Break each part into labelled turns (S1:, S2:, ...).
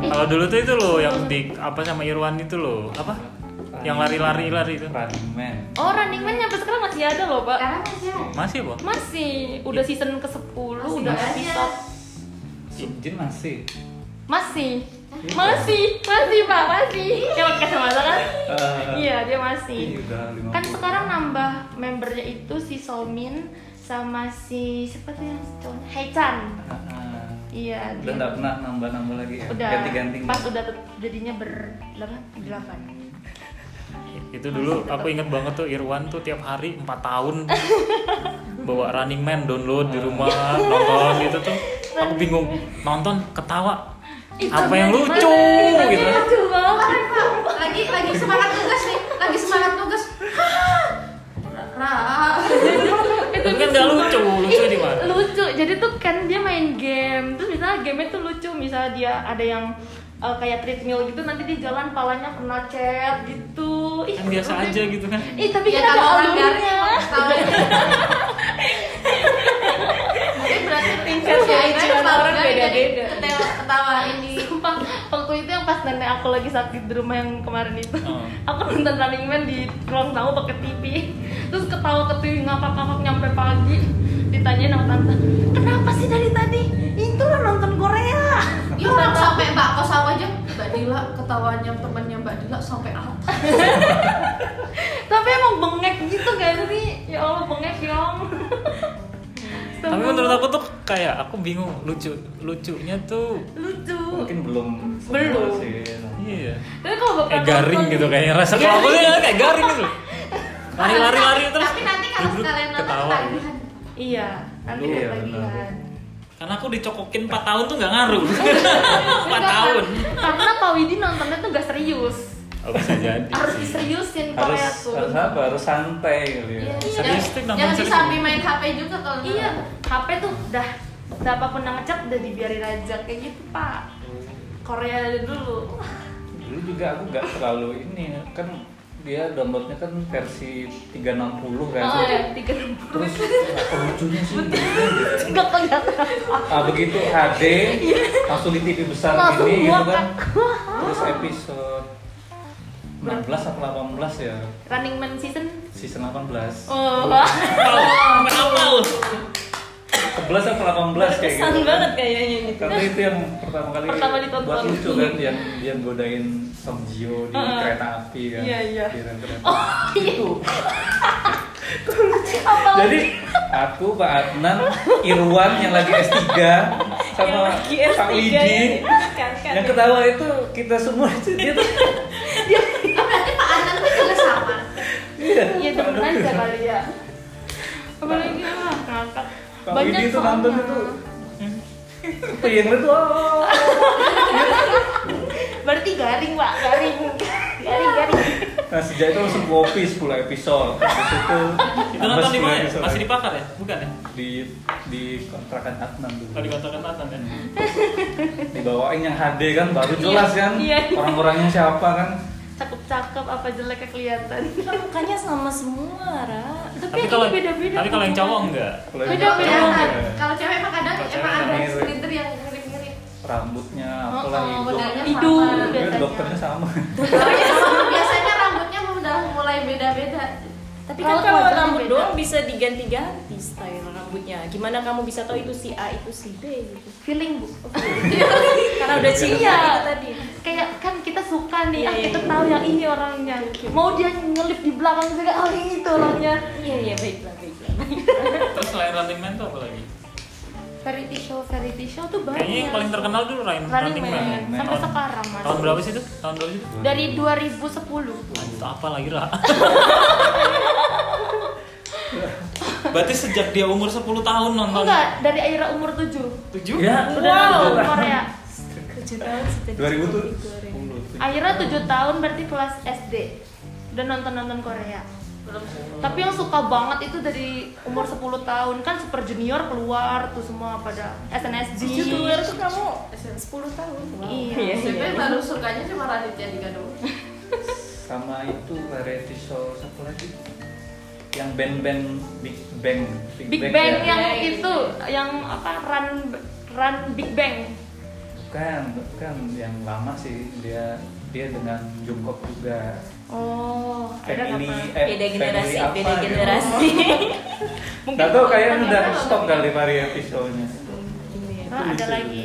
S1: Kalau dulu tuh itu loh yang di apa sama Irwan itu loh. Apa? Yang lari-lari lari itu.
S2: Running Man.
S3: Oh Running Man sampai sekarang masih ada loh pak
S4: Sekarang masih ada.
S1: Masih apa?
S3: Masih, udah season ke 10
S4: Masih
S3: udah
S4: ada.
S3: episode
S2: Jin masih.
S3: Masih Masih, masih pak, masih Dia pakai kacamata kan?
S1: Ah.
S3: Iya dia
S2: Ini
S3: masih
S2: udah lima.
S3: Kan sekarang nambah membernya itu si Somin sama si siapa tuh yang cowoknya? Haechan Iya
S2: Udah
S3: dia
S2: nggak pernah nambah-nambah lagi ya.
S3: udah
S2: Ganti-ganti.
S3: pas udah tet- jadinya ber delapan delapan
S1: Itu dulu aku inget banget tuh Irwan tuh tiap hari 4 tahun bawa Running Man download di rumah nonton gitu tuh. Aku bingung nonton ketawa. Apa yang lucu gitu.
S3: lucu banget
S4: Kemarin pak, lagi lagi semangat tugas nih, lagi semangat tugas. Hah. Ra-
S3: itu
S1: Tapi kan nggak lucu, lucu di mana?
S3: lucu jadi tuh kan dia main game terus misalnya gamenya tuh lucu misalnya dia ada yang eh, kayak treadmill gitu nanti di jalan palanya kena cat gitu ih
S1: Kan biasa
S3: lucu.
S1: aja gitu kan.
S3: ih tapi
S4: Ya
S3: kan ada
S4: kalau orang
S3: alurnya
S4: garing, kalau Mungkin berarti
S3: Tingkat keajaiban Kan orang beda-beda.
S4: Iya, kan? Ketawa, ketawa ini.
S3: Sumpah, waktu itu yang pas nenek aku lagi sakit di rumah yang kemarin itu
S1: Oh.
S3: Aku nonton Running Man di ruang tamu pakai TV Terus ketawa ketiwi ngakak-ngakak nyampe pagi Ditanyain sama tante, kenapa sih dari tadi? Itu lo nonton Korea Iya,
S4: Ya orang sampai Mbak Kosawa aja Mbak Dila ketawanya temannya Mbak Dila sampai apa?
S3: Tapi emang bengek gitu gak sih? Ya Allah bengek yong
S1: Tapi menurut aku tuh kayak aku bingung lucu lucunya tuh
S3: Lucu
S2: Mungkin belum. semua
S3: Belum.
S2: sih.
S1: iya
S3: Tapi kalau bapak
S1: kayak garing
S3: Iya.
S1: gitu kayaknya rasa kalau aku tuh kayak garing gitu lari-lari lari terus
S4: Tapi nanti kalau
S1: Duduk,
S4: sekalian nonton
S1: ketawa gitu.
S4: ketagihan.
S3: Iya, nanti
S2: Iya,
S3: ketagihan
S1: karena aku dicokokin 4 tahun tuh nggak ngaruh 4 tahun
S3: Karena Pak Widi nontonnya tuh gak serius
S1: oh, bisa jadi
S3: harus diseriusin
S2: Harus
S3: Korea tuh.
S2: harus apa? Harus santai kali ya.
S4: Iya.
S1: Serius, Tik,
S4: Jangan
S1: nonton
S4: jangan
S1: serius.
S4: disambi main HP juga kalau
S3: Iya, HP tuh udah udah apapun yang ngecek udah dibiarin aja kayak gitu pak. Korea aja dulu.
S2: Dulu juga aku nggak terlalu ini ya. kan dia downloadnya kan versi 360 kan.
S3: Oh ya, tiga enam puluh.
S2: Terus apa lucunya sih?
S3: Nggak kelihatan.
S2: Ah begitu HD langsung di TV besar
S3: Iya. Langsung
S2: gini gitu
S3: buat
S2: kan. Terus episode 16 atau 18 ya
S3: Running Man season.
S2: season 18.
S3: Oh,
S1: Tahu, kenapa lu
S2: 11 atau 18 kayak
S3: kesan
S2: gitu.
S3: banget kayaknya ini.
S2: Karena itu yang pertama kali
S3: Pertama ditonton.
S2: buat lucu kan yang dia godain Song Jio di
S3: Heeh.
S2: kereta api kan.
S3: Iya, iya.
S2: Di rel kereta. Gitu.
S3: Iya.
S2: Jadi aku Pak Adnan, Irwan yang lagi S3 sama Pak
S3: ya.
S2: Widi. Yang ketawa itu kita semua itu dia tuh.
S4: Ah, berarti Pak Anan tuh juga sama.
S2: Iya.
S3: Iya temen aja kali ya. Apalagi ah, ngakak.
S2: Pak Widi itu nonton
S3: soalnya. Hmm.
S2: itu. Pengen itu oh.
S3: Berarti garing pak, garing, garing, garing.
S2: Nah sejak itu langsung kopi 10 episode Habis itu
S1: itu
S2: tambah
S1: nonton di
S2: 10
S1: mana ya?
S2: episode.
S1: masih dibakar ya bukan ya
S2: Di di kontrakan Adnan dulu
S1: kalau dikontrakan Tatan ya
S2: dibawain yang HD kan baru jelas kan
S3: Iya, iya.
S2: orang-orangnya siapa kan
S3: Cakep-cakep apa jeleknya kelihatan.
S5: mukanya sama semua ra
S1: tapi kalau
S3: ini beda-beda.
S1: tapi kalau yang cowok enggak
S2: Kalau
S3: Beda,
S2: yang
S3: beda.
S2: cowok,
S4: Kelihatan.
S2: ya,
S4: Kalau cewek emang kadang
S1: Kalau cewek
S4: emang ada
S2: mirip.
S4: splitter yang mirip-mirip.
S2: rambutnya apalah
S4: Oh,
S2: hidung
S4: bedanya
S2: Mungkin
S3: Hidung.
S4: sama.
S3: biasanya.
S2: dokternya sama
S3: Iya.
S4: biasanya rambutnya udah mulai beda-beda
S5: tapi
S3: Kalau
S5: kan kalau
S3: kuadratnya
S5: rambut
S3: beda.
S5: doang bisa diganti-ganti style rambutnya gimana kamu bisa tahu itu si A itu si B gitu
S3: Feeling bu.
S5: karena udah
S3: Iya.
S5: cinta tadi
S3: kayak kan kita suka nih,
S5: Iya,
S3: ah,
S5: iya,
S3: kita
S5: iya.
S3: tahu yang ini orangnya. Mau dia nyelip di belakang juga, oh ini tuh orangnya.
S5: iya iya baiklah baiklah
S1: terus selain Running Man tuh apa lagi
S3: Variety show, variety show tuh banyak.
S1: kayaknya yang paling terkenal dulu Running
S3: Running
S1: Running
S3: Man.
S1: Man
S2: Man.
S3: Sampai
S1: Tahun-
S3: sekarang mas.
S1: tahun berapa sih itu tahun berapa sih itu?
S3: Dari 2010.
S1: Nah, itu apa lagi lah berarti sejak dia umur 10 tahun nonton
S3: Enggak, dari Aira umur 7.
S1: tujuh
S2: ya
S3: Udah nonton Korea.
S5: kerja tahun sih tadi
S2: 2000 tuh
S5: goreng.
S3: Aira 7 tahun berarti kelas SD. Udah nonton-nonton Korea. Tapi yang suka banget itu dari umur 10 tahun kan Super Junior keluar tuh semua pada SNSD.
S5: Jujur keluar tuh kamu 10 tahun wow.
S3: Iya.
S4: sebenarnya baru sukanya cuma Raditya Dika doang
S2: sama itu variety show satu lagi yang band-band Big Bang
S3: Big Bang
S2: ya.
S3: yang itu, yang apa Run Run Big Bang.
S2: bukan bukan yang lama sih dia dia dengan Jungkook juga
S3: Oh, ada
S2: family eh,
S3: apa?
S5: beda
S2: family
S5: generasi,
S2: apa
S5: beda
S2: gitu.
S5: generasi.
S2: Nggak tahu kayaknya
S4: Mungkin
S2: udah
S4: kalau-
S2: stop kali variety show-nya.
S5: Iya.
S3: Oh,
S2: Itu
S3: ada
S2: lucu
S3: lagi.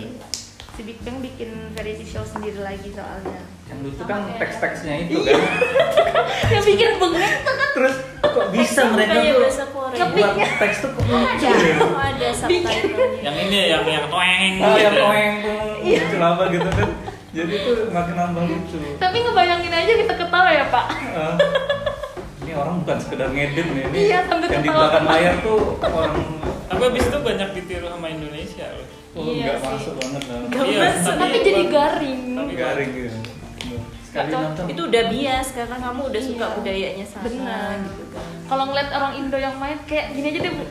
S3: Si Big Bang bikin variety show sendiri lagi soalnya.
S2: Yang lucu kan
S4: Sama kayak-
S2: teks-teksnya itu kan.
S3: Yang bikin bengek tuh kan
S2: Terus kok bisa mereka
S5: Bukannya
S2: tuh
S5: bahasa Korea.
S2: buat teks tuh kok lucu
S4: Iya.
S2: ya?
S5: Oh, ada subtitlenya.
S1: yang ini yang yang toeng
S2: Ah, yang
S1: gitu.
S2: oeng tuh lucu apa gitu kan. Jadi tuh makin nambah lucu.
S3: Tapi ngebayangin aja kita ketawa ya Pak.
S2: Eh, ini orang bukan sekedar ngedit nih. Ini
S3: Iya, sambil
S2: yang di
S3: ketawa.
S2: belakang layar tuh orang
S1: tapi abis itu banyak ditiru sama Indonesia loh
S2: oh,
S5: Iya
S2: nggak
S5: sih.
S2: masuk banget lah.
S5: Nggak
S1: Iya,
S5: masuk.
S1: tapi-
S3: Tapi jadi garing.
S1: Tapi-
S2: Garing gitu. Sekali
S5: Atau
S2: nonton.
S5: itu udah bias karena kamu udah suka
S3: Iya.
S5: budayanya sana
S3: Benar.
S5: gitu kan.
S3: Kalau ngeliat orang Indo yang main kayak gini aja deh Bu.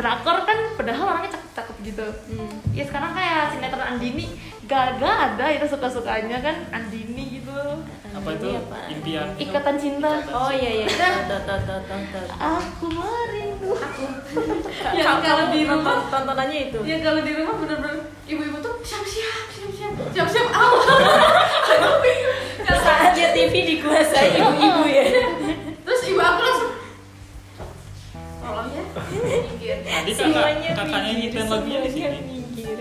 S3: drakor kan padahal orangnya cakep-cakep gitu.
S5: Hmm.
S3: Ya sekarang kayak sinetron Andini Gaga ada itu suka-sukanya kan Andini gitu.
S1: apa itu
S5: Ini apaan?
S1: impian
S3: Ikatan cinta.
S5: Oh iya iya. Tuh, tuh, tuh, tuh, tuh.
S3: Aku merindu.
S5: Hmm.
S4: Ya,
S5: Kamu-
S4: kalau
S5: kamu
S4: di rumah-
S5: nonton- tontonannya itu.
S4: Ya kalau di rumah bener-bener ibu-ibu tuh siap-siap, siap-siap, siap-siap awal.
S5: Ya, Saatnya TV dikuasai
S1: Iya.
S5: ibu-ibu ya.
S4: Terus ibu aku langsung tolong ya. Minggir.
S1: tadi Nah, kakak
S5: Semuanya
S1: kakaknya
S5: minggir,
S1: nyiptain lagunya di
S5: semuanya
S1: sini
S5: minggir.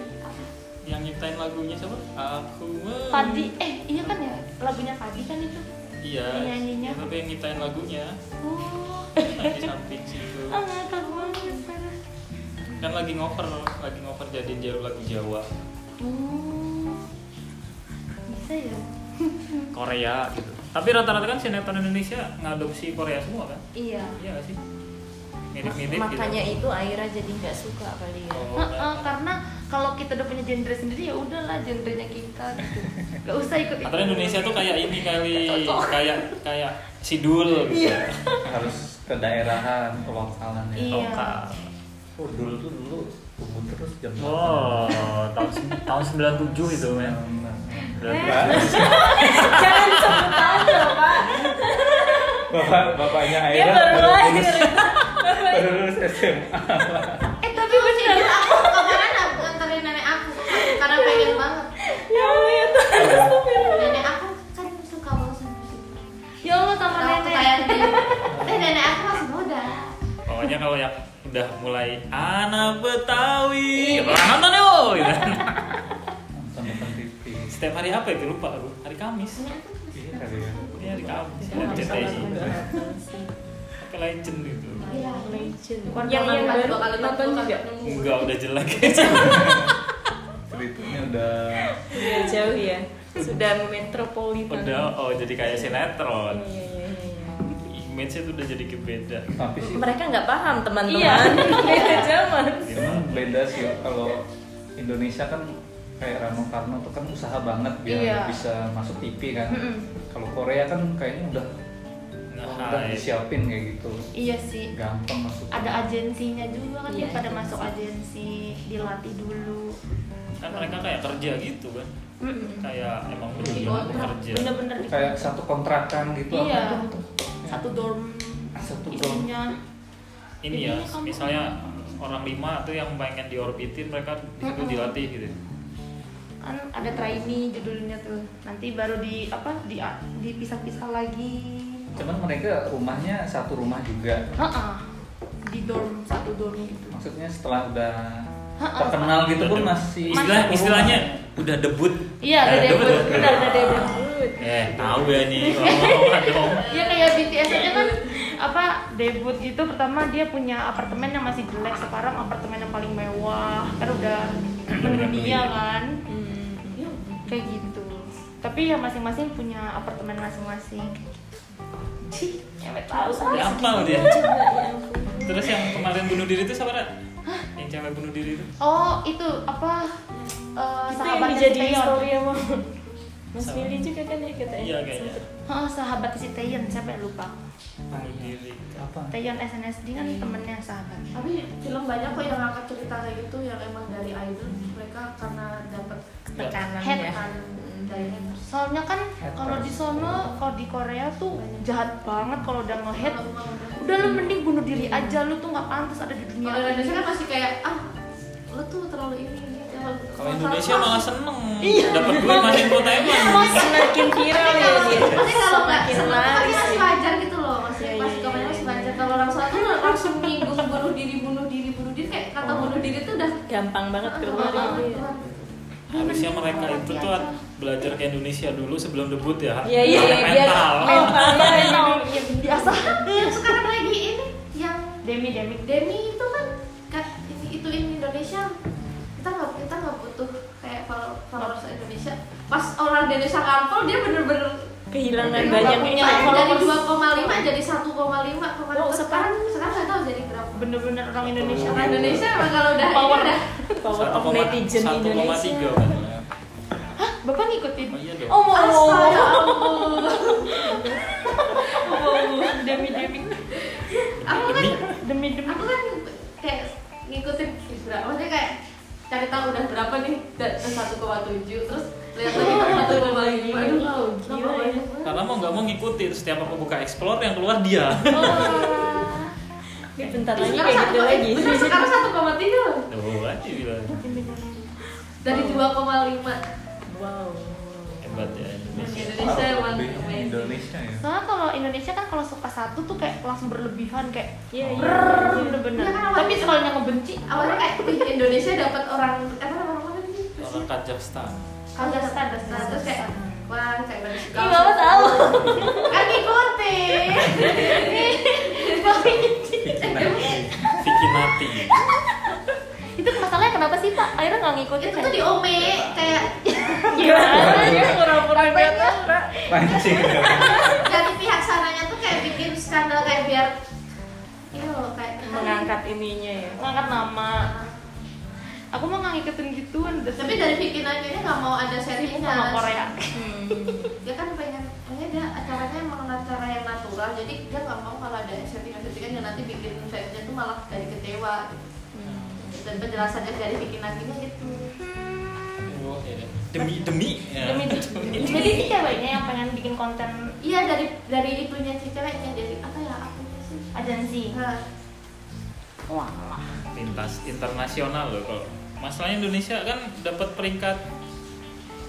S1: yang nyiptain lagunya siapa aku mau-
S3: Fadi, eh iya kan ya lagunya Fadi kan itu.
S1: iya
S3: yang nyanyinya.
S1: tapi yang nyiptain lagunya
S3: Oh,
S1: di samping situ
S3: ah, kamu parah.
S1: kan lagi ngoper lagi ngoper jadi dia lagu Jawa
S3: Oh, bisa ya?
S1: Korea gitu tapi rata-rata kan sinetron Indonesia ngadopsi Korea semua kan
S3: Iya.
S1: iya nggak sih mirip-mirip
S5: Makanya
S1: gitu
S5: itu Aira jadi nggak suka kali ya.
S1: Oh,
S3: Heeh, karena kalau kita udah punya genre sendiri ya udahlah genrenya kita gitu. Gak usah ikut.
S1: Atau Indonesia tuh kayak ini kali, kayak kayak sidul gitu.
S2: harus kedaerahan, kelokalan ya.
S3: Iya.
S1: Lokal.
S2: Oh, dulu tuh dulu umur terus jam
S1: Oh. Wow, tahun tahun 97 itu men.
S2: 8.
S1: Berarti-
S2: Bapak,
S5: Jangan sebut aja, Pak.
S2: bapak bapaknya
S5: Dia
S2: Aira
S5: baru lahir.
S2: baru lulus SMA.
S3: Eh tapi bener.
S4: Iya, Aku kemarin aku anterin nenek aku karena pengen banget.
S5: Ya Allah ya Tuhan.
S1: Iya.
S4: Nenek aku kan suka banget sama musik.
S3: Ya Allah sama
S4: Tahu
S3: nenek.
S4: kayak dia. Eh nenek aku masih muda.
S1: Pokoknya kalau yang udah mulai anak Betawi, "Lah, nonton yuk. Gitu.
S2: Nonton nonton TV.
S1: Setiap hari apa itu lupa aku. Hari Kamis.
S4: Nenek aku masih
S2: Iya kali ya.
S1: Iya hari Kamis.
S5: Ya,
S1: Ada
S5: bisa
S1: CTI.
S5: langsung nggak nonton sih.
S1: Ke legend gitu.
S4: Iya.
S5: Legend.
S3: Warna
S5: Yang yang
S3: warna
S5: baru
S4: Dua kali
S5: nonton juga.
S1: Enggak udah jelek.
S2: Ceritanya udah
S5: Iya jauh ya. Sudah metropolitan.
S1: Udah oh jadi kayak
S5: Iya,
S1: sinetron.
S5: iya, iya, iya.
S1: Image-nya tuh udah jadi beda.
S2: tapi sih
S5: Mereka nggak paham teman-teman.
S3: Iya.
S5: Beda zaman.
S2: emang beda sih kalau Indonesia kan kayak Rano Karno tuh kan usaha banget biar
S3: Iya.
S2: bisa masuk TV kan.
S3: Mm-mm.
S2: Kalau Korea kan kayaknya udah
S1: Nah,
S3: Oh,
S2: udah disiapin kayak gitu.
S3: Iya sih.
S2: Gampang masuk.
S3: Ada agensinya juga kan dia
S5: Iya,
S3: pada
S5: agensi.
S3: masuk agensi dilatih dulu.
S1: kan mereka kayak kerja gitu kan. Kayak emang
S4: Jadi
S1: bener-bener
S4: kontrak.
S1: kerja.
S3: Bener-bener di
S2: kayak satu kontrakan gitu apa
S3: Iya.
S2: itu?
S3: satu dorm
S1: Ah,
S2: Satu dorm.
S3: isinya.
S1: ini ya
S3: Jadinya kamu-
S1: misalnya orang lima tuh yang pengen diorbitin mereka di situ
S3: Mm-mm.
S1: dilatih gitu
S3: kan ada trainee judulnya tuh nanti baru di apa di dipisah-pisah lagi
S2: cuman mereka rumahnya satu rumah juga
S3: Heeh. di dorm satu dorm itu
S2: maksudnya setelah udah
S3: Ha-ha.
S2: terkenal gitu pun masih
S1: istilah
S2: satu
S1: istilahnya
S2: rumah.
S1: udah debut
S3: iya ada
S1: Eh,
S3: debut
S1: debut, debut.
S3: benar ada debut
S1: eh tahu ya nih ngomong-ngomong dong
S3: Iya kayak BTS aja kan apa debut gitu pertama dia punya apartemen yang masih jelek sekarang apartemen yang paling mewah kan udah mendunia kan
S5: Hmm.
S3: kayak gitu tapi ya masing-masing punya apartemen masing-masing Cih, cewek tahu
S1: Ya,
S3: sih.
S1: apa dia
S5: Coba ya ampun.
S1: terus yang kemarin bunuh diri itu siapa Ra? yang cewek bunuh diri itu
S3: Oh, itu apa? eh
S5: Itu yang
S3: sahabatnya si
S5: dijadiin
S3: Taeyeon.
S5: story sama Mas
S1: Sama.
S5: Billy juga kan ya katanya.
S1: iya kayaknya
S3: Oh, sahabat si Taeyeon, siapa yang lupa?
S1: bunuh diri
S2: apa
S3: Taeyeon SNSD kan
S5: Iya.
S3: temennya sahabat.
S4: Tapi film banyak kok yang angkat cerita kayak gitu yang emang dari idol mereka karena dapat
S5: Tekanan
S3: Head
S5: ya.
S4: kan dari haters.
S3: Soalnya kan kalau di sono, kalau di Korea tuh jahat banget kalau udah nge-hate. Udah lu mending bunuh diri aja, lu tuh nggak pantas ada di
S5: Iya.
S3: dunia
S4: Kalau
S3: ini.
S4: Indonesia kan masih kayak ah lu tuh terlalu ini. ini, terlalu-
S1: kalau Indonesia malah seneng
S5: Iya.
S1: dapat duit makin kota emang
S5: Semakin viral ya dia.
S4: Tapi iya, kalau nggak
S5: Semakin
S4: seneng tapi
S5: laris.
S4: masih wajar gitu loh masih
S5: Iya, iya,
S4: pas
S5: iya,
S4: kemarin
S5: iya.
S4: masih wajar kalau orang soal tuh langsung minggu bunuh diri bunuh diri bunuh diri kayak kata bunuh diri tuh udah
S5: Gampang banget keluar itu ya.
S1: harusnya mereka itu tuh belajar ke Indonesia dulu sebelum debut ya
S5: Iya iya iya
S1: Karena
S5: biar
S1: mental
S5: mentalnya ini.
S3: Iya, biasa
S4: yang Kan, sekarang lagi ini yang
S3: demi demi
S4: Demi itu kan kan- ini itu in Indonesia kita nggak kita nggak butuh kayak follow- followers Indonesia pas orang Indonesia kampung dia bener-bener
S5: Kehilangan
S4: berubah.
S5: banyak
S3: punya
S4: Saya dari
S3: followers.
S4: 2,5 jadi 1,5 kemarin
S5: Oh,
S4: tuh sekarang
S5: sekarang-
S4: sekarang nggak tahu jadi berapa
S3: bener-bener orang Indonesia
S4: orang Indonesia emang kalau udah ini
S3: Power.
S4: udah
S5: power of netizen Indonesia.
S1: 1,3 kan
S3: Hah, bapak ngikutin
S1: Oh iya dong.
S3: oh mau mau
S4: astaga ya ampun
S3: demi demi
S5: Ah.
S4: aku kan
S3: demi demi
S4: aku kan kayak ngikutin berapa maksudnya kayak cari tahu udah berapa nih dan 1,7 terus lihat lagi 1,5 aduh
S5: Gila
S4: gila
S5: ya.
S1: karena mau nggak mau ngikutin setiap aku buka explore yang keluar dia
S5: Ini bentar
S4: Terus ya?
S5: lagi
S4: sekarang
S5: kayak gitu
S4: satu-
S5: lagi.
S4: bener, sekarang satu koma tiga
S1: oh aja bilang
S4: dari dua koma lima
S5: Wow.
S1: hebat ya Indonesia
S4: Indonesia emang amazing.
S2: Indonesia ya
S3: soalnya kalau Indonesia kan kalau suka satu tuh kayak langsung berlebihan kayak
S5: Iya iya.
S3: brrrr,
S5: iya.
S3: bener-bener
S4: Iya kan, awalnya-
S3: tapi kalau yang ngebenci
S4: awalnya kayak "Wih, Indonesia dapat orang apa nama orang ini
S1: orang Kazakhstan
S4: Kazakhstan Kazakhstan. terus kayak wah kayak baru suka
S3: Ih, Bapak tahu.
S4: kan ngikutin
S1: Vicky Nati
S3: itu masalahnya kenapa sih pak akhirnya nggak ngikutin
S4: itu tuh diome kayak
S5: Gimana dia pura-pura nggak tahu, Ra?
S2: pancing
S4: dari pihak sananya tuh kayak bikin skandal kayak biar ini loh kayak
S5: Mengangkat ininya ya.
S3: ngangkat nama aku mah nggak ngikutin gituan udah
S4: tapi dari bikin aja ini nggak mau ada
S3: sibuk
S4: settingan
S3: sama Korea
S5: Hmm.
S4: dia kan pengen makanya dia acaranya emang acara yang natural jadi dia nggak mau kalau ada settingan settingan yang nanti bikin fansnya tuh malah jadi kecewa gitu.
S3: Hmm.
S4: dan penjelasannya dari bikin lagunya gitu
S1: Oh, iya. demi demi ya.
S3: demi jadi sih ceweknya yang pengen bikin konten
S4: iya dari dari itunya si ceweknya dari apa ya aku sih
S3: agensi
S4: nah,
S1: lintas internasional loh kalau masalahnya Indonesia kan dapat peringkat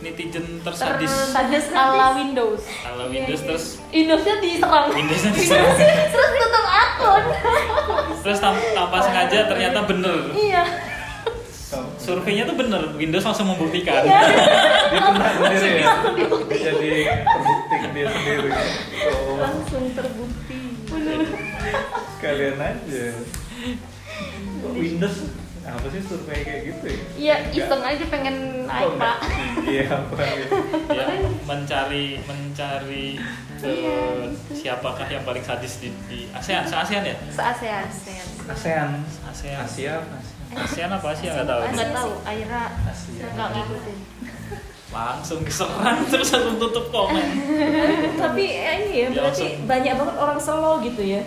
S1: netizen tersadis
S3: Sadis ala Windows
S1: kalau Windows terus
S3: Windowsnya diserang
S1: Windowsnya diserang.
S3: terus tutup akun
S1: terus tam- tanpa sengaja ternyata bener
S3: iya
S1: surveinya tuh bener Windows langsung membuktikan
S2: dia pernah sendiri ya Dia jadi terbukti dia sendiri oh
S3: langsung terbukti
S2: sekalian aja Windows apa sih survei kayak gitu ya
S3: iya iseng
S2: Nggak-
S3: aja pengen naik
S2: kok nggak-
S3: pak
S2: iya apa ya
S1: ya mencari mencari eh, siapakah yang paling sadis di, di ASEAN se ASEAN ya
S3: se ASEAN
S2: ASEAN
S1: ASEAN
S2: Asia
S1: ASEAN apa Asia nggak tahu
S3: nggak tahu Aira
S2: Asia
S3: nggak ngikutin
S1: langsung diserang terus langsung tutup komen
S5: Tapi eh, ini ya
S1: Dia
S5: berarti
S1: langsung-
S5: banyak banget orang selo gitu ya.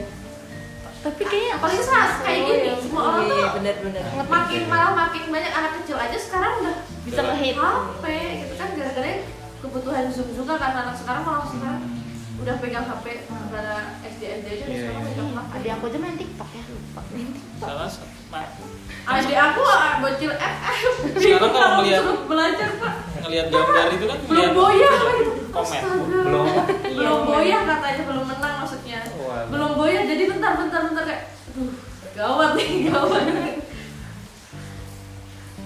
S3: tapi kayaknya
S4: apalagi saat kayak gini
S5: Iya,
S4: semua orang
S5: Iya
S4: tuh
S5: benar-benar.
S4: makin malah makin banyak anak kecil aja sekarang udah
S3: bisa ngehit
S4: HP gitu kan gara-gara kebutuhan zoom juga kan anak sekarang malah sekarang udah pegang HP karena SD SD aja udah
S2: Iya,
S4: sekarang
S2: iya.
S4: pegang HP
S3: adik aku aja main TikTok ya lupa main TikTok
S1: salah se- ma-
S4: adik aku ah, bocil FM
S1: Sekarang kalau
S4: Aku
S1: ngeliat-
S4: suruh belajar pak
S1: ngelihat gambar itu kan
S4: belum
S1: ngelihat-
S4: boyah gitu
S1: Komen.
S2: belum
S4: belum boyah katanya belum menang maksudnya
S2: Waduh.
S4: belum boyah jadi bentar bentar bentar kayak aduh gawat nih gawat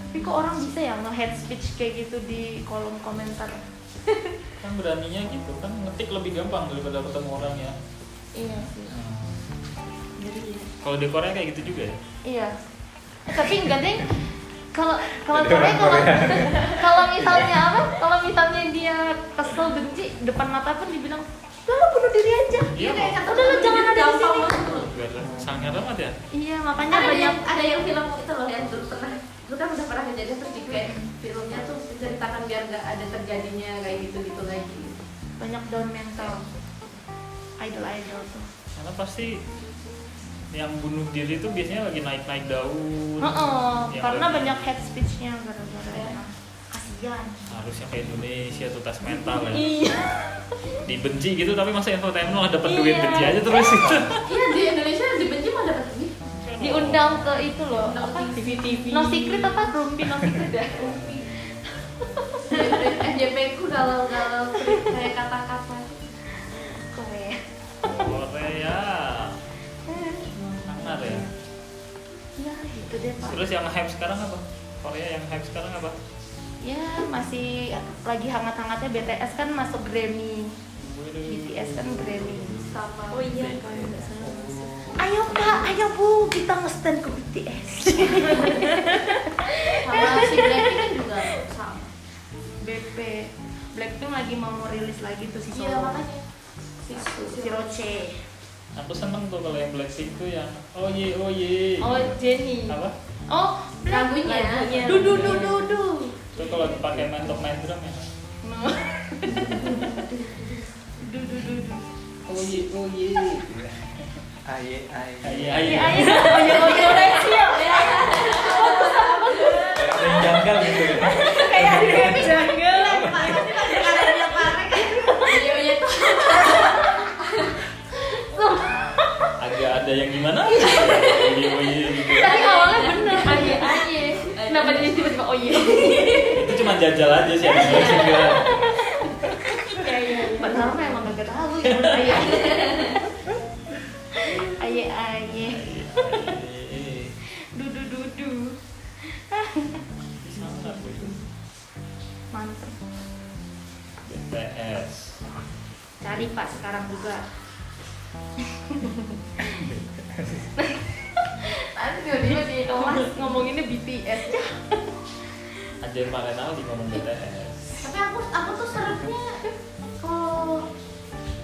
S3: tapi kok orang bisa ya nge-head speech kayak gitu di kolom komentar
S1: kan beraninya gitu kan ngetik lebih gampang daripada ketemu orang ya
S3: iya sih
S1: kalau di Korea kayak gitu juga ya
S3: iya Eh, tapi enggak deh kalau kalau
S2: Jadi
S3: Korea
S2: orang
S3: kalau
S2: Korea.
S3: kalau misalnya apa kalau misalnya dia kesel benci depan mata pun dibilang udah lo bunuh diri aja
S1: Iya,
S4: kayak kata
S3: Udah, lu
S4: temen, gitu,
S3: jangan ada di
S4: gampang
S3: sini.
S4: banget lu.
S1: biar sangat amat ya
S3: iya makanya
S4: ada
S3: banyak
S4: yang ada yang film itu loh yang dulu pernah lu kan udah pernah kejadian terus di kayak filmnya tuh diceritakan biar nggak ada terjadinya kayak gitu gitu lagi
S3: banyak down mental idol idol tuh
S1: karena pasti yang bunuh diri itu biasanya lagi naik-naik daun
S3: Heeh,
S1: Yang
S3: karena
S1: lagi-
S3: banyak head speech-nya gara-gara ya. Kasihan.
S1: harusnya ke Indonesia tuh tes mental ya
S5: Iya.
S1: dibenci gitu tapi masa infotainment lah dapat
S3: Iya.
S1: duit benci aja terus gitu
S4: iya di Indonesia dibenci mah dapat duit
S3: Iya, Diundang ke itu loh, apa?
S5: TV TV.
S3: No secret apa? Rumpi no secret ya.
S4: Dari FJP ku galau-galau kayak kata-kata
S3: Korea
S1: Korea sangar ya
S3: ya gitu deh pak
S1: terus yang hype sekarang apa Korea yang hype sekarang apa
S3: ya masih lagi hangat-hangatnya BTS kan masuk Grammy BTS kan Grammy
S4: sama
S5: Oh iya, kalau nggak salah masuk.
S3: ayo pak ayo bu kita nge-stand ke BTS
S4: sama si Blackpink kan juga sama
S3: BP Blackpink lagi mau rilis lagi tuh si
S4: iya
S3: solo
S4: makanya si
S3: si Roche
S1: aku seneng tuh kalau yang Blackpink tuh yang oh ye oh ye
S3: oh Jennie
S1: apa
S3: oh
S4: Lagunya.
S3: lagunya du du du du du
S1: itu kalau dipakai main top main drum ya
S3: No. du du du du
S2: Oh iya, oh iya. Aye, aye.
S1: Aye, aye.
S3: Iya, iya. Ojo, ojo, ojo.
S2: Ada yang janggal gitu ya.
S3: kayak ada yang janggal
S4: videonya tuh
S1: agak ada yang gimana
S3: Iya.
S1: oh ye oh ye gitu
S3: tapi awalnya bener aja
S4: aja
S3: Iya, kenapa jadi tiba-tiba oh iya
S1: itu cuma jajal aja sih ada Blackpink juga
S3: padahal mah emang gak tahu ya menurut aye aye aye dudu dudu
S1: sangar bu itu
S3: mantep
S1: BTS
S3: cari pak sekarang juga
S4: tapi tiba-tiba di
S3: Mas ngomonginnya BTS ya
S1: ada yang pakai nali ngomong BTS
S4: tapi aku aku tuh serapnya kalau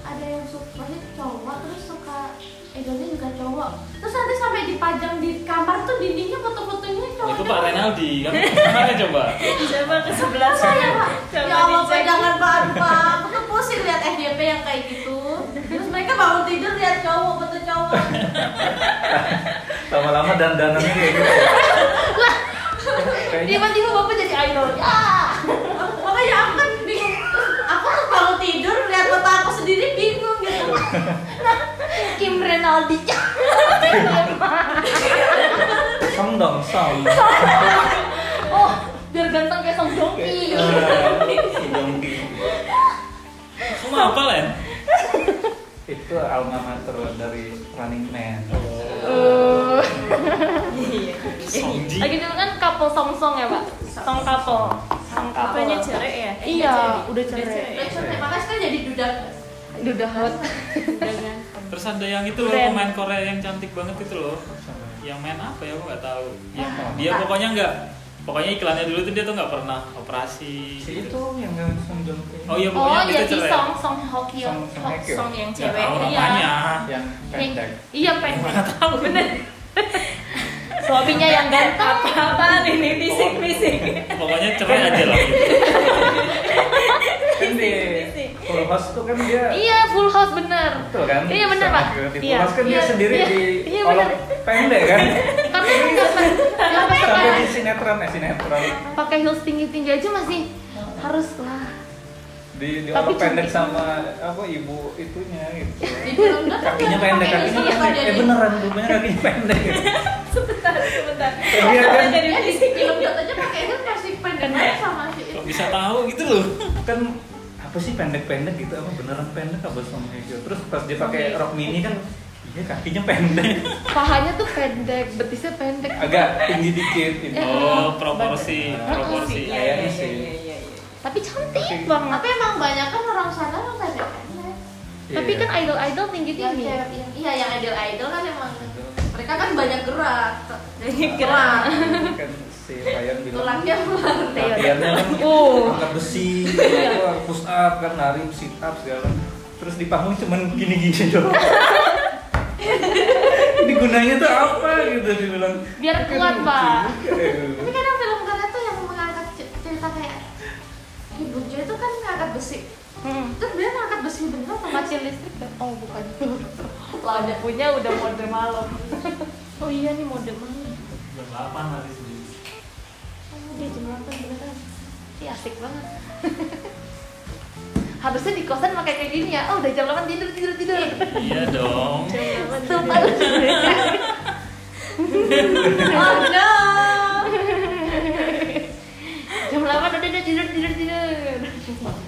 S4: ada yang suka maksudnya cowok terus suka idolnya juga cowok terus nanti sampai dipajang di kamar tuh dindingnya foto-fotonya
S2: Ya,
S4: cowok
S1: itu Pak Renaldi kamu gimana coba
S5: Coba ke sebelah
S4: saya pak
S5: Coba
S4: ya Allah
S5: dicek.
S4: pegangan pak aduh, pak aku tuh pusing lihat FJP yang kayak gitu terus mereka bangun tidur lihat cowok foto cowok
S2: Lama-lama dandanannya kayak gitu. ya. Kayaknya
S3: tiba-tiba bapak jadi idol ya
S4: makanya aku kan bingung aku tuh bangun tidur lihat foto aku sendiri bingung gitu
S3: Kim Renaldi
S2: song dong, song.
S3: oh biar ganteng kayak Song Joong
S2: Eh,
S3: Ki
S2: Yonggi.
S1: kamu apa Len?
S2: Itu alma mater dari Running Man.
S3: Eh,
S5: Iya.
S1: Songji
S3: lagi dulu kan couple song song ya pak song couple song
S5: Apanya cerai ya? Eh,
S3: Iya,
S5: nggak jadi.
S3: udah cerai.
S4: Terus terima kasih kan jadi dudak
S3: udah hot
S5: Dengan
S1: terus ada yang itu loh
S3: Ren.
S1: pemain Korea yang cantik banget itu loh yang main apa ya aku nggak tahu yang
S2: Ah.
S1: dia pokoknya nggak pokoknya iklannya dulu tuh dia tuh nggak pernah operasi
S2: Si
S1: gitu.
S2: itu yang dengan Song Joong Ki.
S1: oh iya
S3: oh
S1: pokoknya
S3: iya
S1: itu
S3: si
S1: cerai
S3: song song ya. Hokyo
S2: Song- Song
S3: Hok-
S2: Hokyo.
S5: song yang
S1: nggak
S5: cewek.
S1: tahu
S3: iya.
S1: namanya
S2: Ah, yang pendek.
S3: iya pendek tahu bener suaminya yang ganteng
S5: Apa-apaan ini
S3: Oh.
S5: fisik-fisik?
S1: pokoknya cerai aja lah gitu.
S2: Kan di Full House tuh kan dia
S3: iya full house bener
S2: Betul kan?
S3: iya bener
S2: Sama
S3: pak
S2: kayak Di
S3: iya
S2: Full House kan dia
S3: iya,
S2: sendiri
S3: iya,
S2: di
S3: iya
S2: kolom
S3: bener
S2: pendek kan?
S3: karena nggak pernah- nggak
S2: Sampai
S3: pernah
S2: di sinetron, eh sinetron.
S3: pakai heels tinggi tinggi aja masih harus lah
S2: di, di
S3: Tapi
S2: orang pendek
S3: cantik.
S2: sama apa ibu itunya gitu
S3: Iya.
S4: Didudak kan
S2: kakinya
S4: pakai
S2: pendek kakinya
S4: listrik apa
S2: pendek eh
S4: jadi-
S2: beneran rumahnya kakinya pendek
S5: Sebentar, sebentar.
S2: Iya, kan?
S5: Apa jadi
S4: Ya, di
S5: fisik?
S4: film jatuhnya pakai itu pasti pendek banget sama si itu.
S1: kok bisa tahu gitu loh
S2: kan apa sih pendek-pendek gitu apa beneran pendek apa sama gitu terus pas dia pakai rok mini kan iya kakinya pendek
S3: pahanya tuh pendek betisnya pendek
S2: agak tinggi dikit ini
S3: Eh,
S1: oh proporsi
S2: Bagus.
S1: proporsi
S5: Iya,
S2: Kayaknya
S5: iya,
S2: sih.
S5: iya, iya, iya.
S3: tapi cantik banget
S4: Tapi emang banyak kan orang sana yang pendek pendek.
S2: Iya.
S3: tapi kan idol idol tinggi
S4: Yang
S3: tinggi
S4: cewek- yang- Iya yang idol idol kan emang mereka kan banyak gerak.
S5: Banyak gerak.
S2: kan si Ryan bilang
S4: Tulangnya keluar.
S2: latihannya kan
S3: Oh. Iya.
S2: angkat besi gitu, push up kan lari sit up segala terus di panggung cuman gini-gini doang ini gunanya tuh apa gitu dibilang Kan
S3: Biar kuat, Pak.
S4: Tapi
S2: ya.
S4: kadang film Korea tuh yang mengangkat ce- cerita kayak ibu Jo itu kan ngangkat besi.
S3: Hmm.
S4: Terus dia ngangkat besi bener sama
S3: mati listrik kan? oh bukan
S4: Lada.
S3: punya udah mode malam oh iya nih mode malam
S1: jam 8 hari sendiri
S3: dia jam 8 beneran Ih, asik banget harusnya di kosan pakai kayak gini ya oh udah jam 8 tidur tidur tidur
S1: iya dong
S3: sumpah lucu
S4: Oh no.
S3: jam 8 udah deh tidur tidur tidur